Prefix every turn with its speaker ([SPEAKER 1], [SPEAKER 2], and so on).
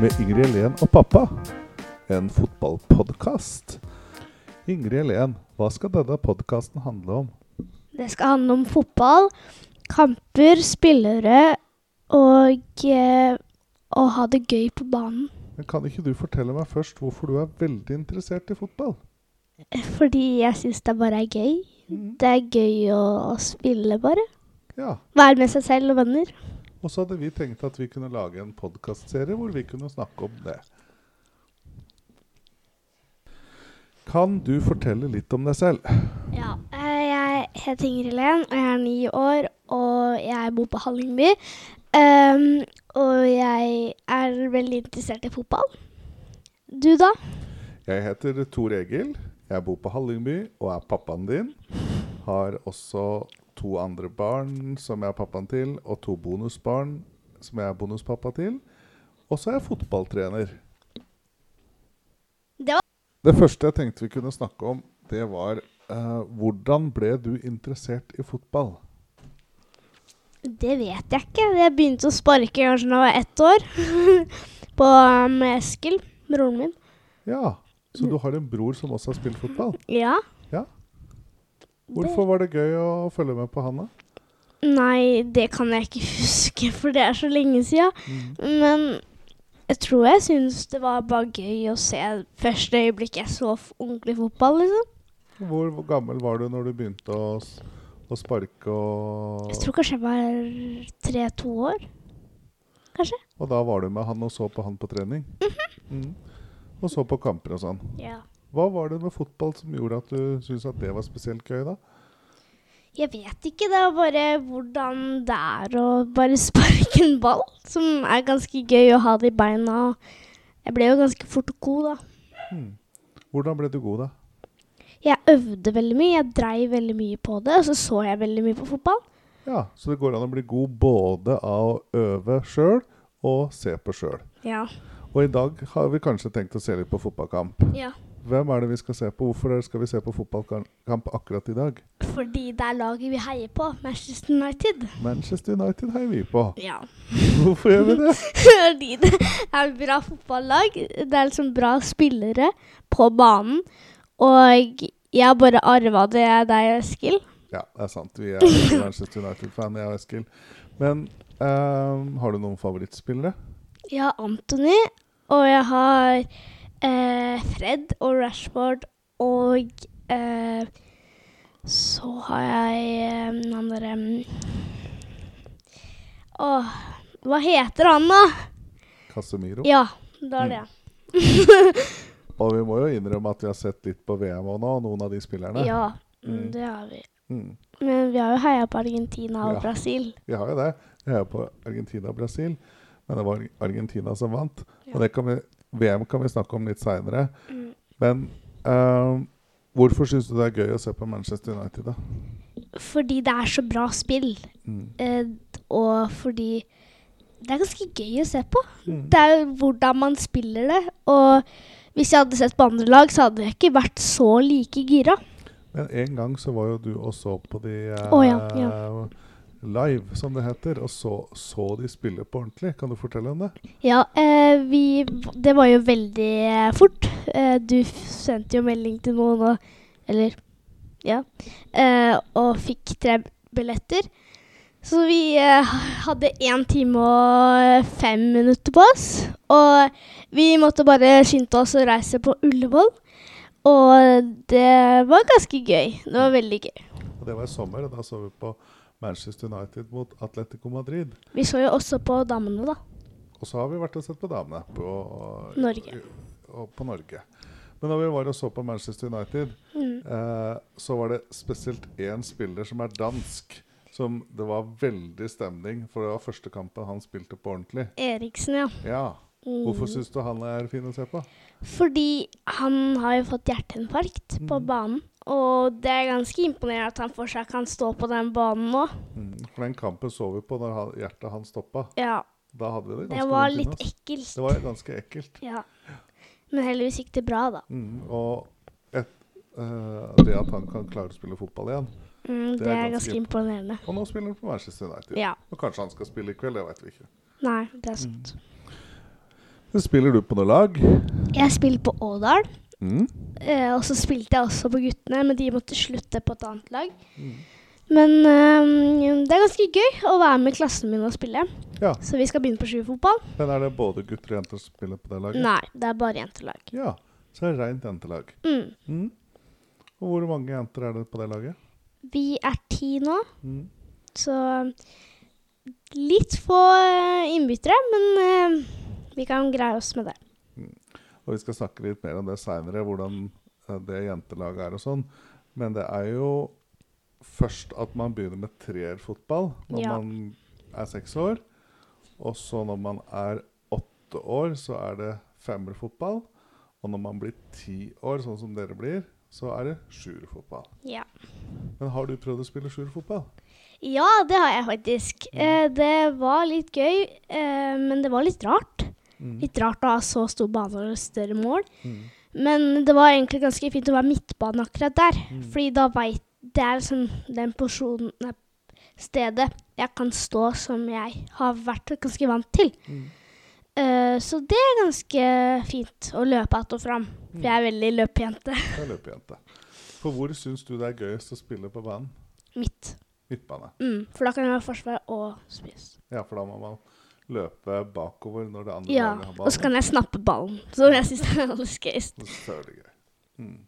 [SPEAKER 1] med Ingrid Helen og pappa. En fotballpodkast. Ingrid Helen, hva skal denne podkasten handle om?
[SPEAKER 2] Det skal handle om fotball, kamper, spillere og eh, å ha det gøy på banen.
[SPEAKER 1] Men kan ikke du fortelle meg først hvorfor du er veldig interessert i fotball?
[SPEAKER 2] Fordi jeg syns det bare er gøy. Det er gøy å, å spille, bare.
[SPEAKER 1] Ja,
[SPEAKER 2] Være med seg selv og venner.
[SPEAKER 1] Og så hadde vi tenkt at vi kunne lage en podkastserie hvor vi kunne snakke om det. Kan du fortelle litt om deg selv?
[SPEAKER 2] Ja. eh, Jeg heter Ingrid Len, og jeg er ni år, og jeg bor på Hallingby. Ehm, og jeg er veldig interessert i fotball. Du, da?
[SPEAKER 1] Jeg heter Tor Egil. Jeg bor på Hallingby og er pappaen din. Har også to andre barn som jeg er pappaen til, og to bonusbarn som jeg er bonuspappa til. Og så er jeg fotballtrener.
[SPEAKER 2] Det var-
[SPEAKER 1] Det første jeg tenkte vi kunne snakke om, det var eh, hvordan ble du interessert i fotball?
[SPEAKER 2] Det vet jeg ikke. Jeg begynte å sparke kanskje da jeg var ett år. på um, Eskil, broren min.
[SPEAKER 1] Ja, så du har en bror som også har spilt fotball.
[SPEAKER 2] Ja.
[SPEAKER 1] Ja. Hvorfor var det gøy å følge med på han, da?
[SPEAKER 2] Nei, det kan jeg ikke huske, for det er så lenge sia. Men jeg tror jeg syns det var bare gøy å se første øyeblikk jeg så f- ordentlig fotball, liksom.
[SPEAKER 1] Hvor gammel var du når du begynte å, s- å sparke og
[SPEAKER 2] Jeg tror kanskje jeg var tre-to år. Kanskje.
[SPEAKER 1] Og da var du med han og så på han på trening? Mm. Og så på kamper og sånn.
[SPEAKER 2] Ja.
[SPEAKER 1] Hva var det med fotball som gjorde at du syntes at det var spesielt gøy, da?
[SPEAKER 2] Jeg vet ikke. Det er bare hvordan det er å bare sparke en ball, som er ganske gøy å ha det i beina. og Jeg ble jo ganske fort god, da.
[SPEAKER 1] Hvordan ble du god, da?
[SPEAKER 2] Jeg øvde veldig mye, jeg dreiv veldig mye på det, og så så jeg veldig mye på fotball.
[SPEAKER 1] Ja, Så det går an å bli god både av å øve sjøl og se på sjøl.
[SPEAKER 2] Ja.
[SPEAKER 1] Og i dag har vi kanskje tenkt å se litt på fotballkamp.
[SPEAKER 2] ja.
[SPEAKER 1] Hvem er det vi skal se på? Hvorfor er det- skal vi se på fotballkamp akkurat i dag?
[SPEAKER 2] Fordi det er laget vi heier på, Manchester United.
[SPEAKER 1] Manchester United heier vi på.
[SPEAKER 2] Ja.
[SPEAKER 1] Hvorfor gjør vi det?
[SPEAKER 2] Fordi det er et bra fotballag. Det er liksom bra spillere på banen. Og jeg har bare arva det av deg, Eskil.
[SPEAKER 1] Ja, det er sant. Vi er jo Manchester United-fan, jeg og Eskil. Men ehm, har du noen favorittspillere?
[SPEAKER 2] Jeg har Anthony, og jeg har eh, Fred og Rashford, og eh, så har jeg eh, han derre Åh, hva heter han, da?
[SPEAKER 1] Casemiro.
[SPEAKER 2] Ja, det er det.
[SPEAKER 1] Mm, Og vi må jo innrømme at vi har sett litt på VM og nå, noen av de spillerne.
[SPEAKER 2] Ja,
[SPEAKER 1] Mm.
[SPEAKER 2] det har vi.
[SPEAKER 1] Mm.
[SPEAKER 2] Men vi har jo heia på Argentina og
[SPEAKER 1] Ja.
[SPEAKER 2] Brasil.
[SPEAKER 1] Vi har jo det. Vi er jo på Argentina og Brasil, men det var Argentina som vant. Og det kan vi, VM kan vi snakke om litt seinere.
[SPEAKER 2] Mm.
[SPEAKER 1] Men ehm, hvorfor syns du det er gøy å se på Manchester United, da?
[SPEAKER 2] Fordi det er så bra spill,
[SPEAKER 1] Mm.
[SPEAKER 2] eh, og fordi det er ganske gøy å se på.
[SPEAKER 1] Mm.
[SPEAKER 2] Det er jo hvordan man spiller det. Og hvis jeg hadde sett på andre lag, så hadde jeg ikke vært så like gira.
[SPEAKER 1] Men en gang så var jo du og så på de eh,
[SPEAKER 2] Å, ja, ja.
[SPEAKER 1] live, som det heter, og så, så de spille på ordentlig. Kan du fortelle om det?
[SPEAKER 2] Ja, eh, vi Det var jo veldig eh, fort. Eh, du f- sendte jo melding til noen og Eller Ja. Eh, og fikk tre billetter. Så vi eh, hadde én time og fem minutter på oss. Og vi måtte bare skynde oss å reise på Ullevål. Og det var ganske gøy. Det var veldig gøy.
[SPEAKER 1] Og det var i sommer, og da så vi på Manchester United mot Atletico Madrid.
[SPEAKER 2] Vi så jo også på damene, da.
[SPEAKER 1] Og så har vi vært og sett på damene på eh,
[SPEAKER 2] Norge.
[SPEAKER 1] Og på Norge. Men da vi var og så på Manchester United, eh, så var det spesielt én spiller som er dansk, som det var veldig stemning, for det var første kampen han spilte på ordentlig.
[SPEAKER 2] Eriksen, ja.
[SPEAKER 1] Ja.
[SPEAKER 2] Mm.
[SPEAKER 1] Hvorfor syns du han er fin å se på?
[SPEAKER 2] Fordi han har jo fått hjerteinfarkt
[SPEAKER 1] Mm.
[SPEAKER 2] på banen. Og det er ganske imponerende at han fortsatt kan stå på den banen nå.
[SPEAKER 1] Mm, For den kampen så vi på når han, hjertet hans stoppa.
[SPEAKER 2] Ja,
[SPEAKER 1] Da hadde vi det ganske
[SPEAKER 2] Det var
[SPEAKER 1] vondt inni
[SPEAKER 2] litt
[SPEAKER 1] oss.
[SPEAKER 2] ekkelt.
[SPEAKER 1] Det var ganske ekkelt.
[SPEAKER 2] Ja. Men heldigvis gikk det bra, da.
[SPEAKER 1] Mm, og et, eh, det at han kan klare å spille fotball igjen.
[SPEAKER 2] Mm, det,
[SPEAKER 1] er
[SPEAKER 2] er
[SPEAKER 1] ganske
[SPEAKER 2] ganske
[SPEAKER 1] imp-
[SPEAKER 2] imponerende.
[SPEAKER 1] Og nå spiller han på Manchester United.
[SPEAKER 2] Ja.
[SPEAKER 1] Og kanskje han skal spille i kveld, det veit vi ikke.
[SPEAKER 2] Nei, det er sant.
[SPEAKER 1] Men Så spiller du på noe lag.
[SPEAKER 2] Jeg spilte på Ådal,
[SPEAKER 1] Mm.
[SPEAKER 2] eh, og så spilte jeg også på guttene, men de måtte slutte på et annet lag.
[SPEAKER 1] Mm.
[SPEAKER 2] Men eh, det er ganske gøy å være med klassen min og spille.
[SPEAKER 1] Ja.
[SPEAKER 2] Så vi skal begynne på sjuerfotball.
[SPEAKER 1] Men er det både gutter og jenter som spiller på det laget?
[SPEAKER 2] Nei, det er bare jentelag.
[SPEAKER 1] Ja, så er det rent jentelag.
[SPEAKER 2] Mm.
[SPEAKER 1] Mm. Og hvor mange jenter er det på det laget?
[SPEAKER 2] Vi er ti nå,
[SPEAKER 1] Mm.
[SPEAKER 2] så litt få eh, innbyttere, men eh, vi kan greie oss med det.
[SPEAKER 1] Og vi skal snakke litt mer om det seinere, hvordan eh, det jentelaget er og sånn. Men det er jo først at man begynner med treerfotball når
[SPEAKER 2] Ja.
[SPEAKER 1] man er seks år. Og så når man er åtte år, så er det femmerfotball. Og når man blir ti år, sånn som dere blir, så er det sjuerfotball.
[SPEAKER 2] Ja.
[SPEAKER 1] Men har du prøvd å spille sjuerfotball?
[SPEAKER 2] Ja, det har jeg faktisk. Eh, det var litt gøy, eh, men det var litt rart.
[SPEAKER 1] Mm.
[SPEAKER 2] Litt rart å ha så stor bane og større mål.
[SPEAKER 1] Mm.
[SPEAKER 2] Men det var egentlig ganske fint å være midtbane akkurat der.
[SPEAKER 1] Mm.
[SPEAKER 2] Fordi da veit Det er liksom den porsjonen nei, Stedet jeg kan stå som jeg har vært ganske vant til.
[SPEAKER 1] Mm.
[SPEAKER 2] Eh, så det er ganske fint å løpe att og fram. For jeg er veldig løpejente.
[SPEAKER 1] Det er løpejente. For hvor syns du det er gøyest å spille på banen?
[SPEAKER 2] Mitt.
[SPEAKER 1] Midtbane.
[SPEAKER 2] Mm, for da kan jeg være forsvar og spiss.
[SPEAKER 1] Ja, for da må man løpe bakover når det andre
[SPEAKER 2] Ja,
[SPEAKER 1] laget har
[SPEAKER 2] og så
[SPEAKER 1] ballen.
[SPEAKER 2] kan jeg snappe ballen, som jeg syns er aller gøyest.
[SPEAKER 1] Så er det gøy. Mm.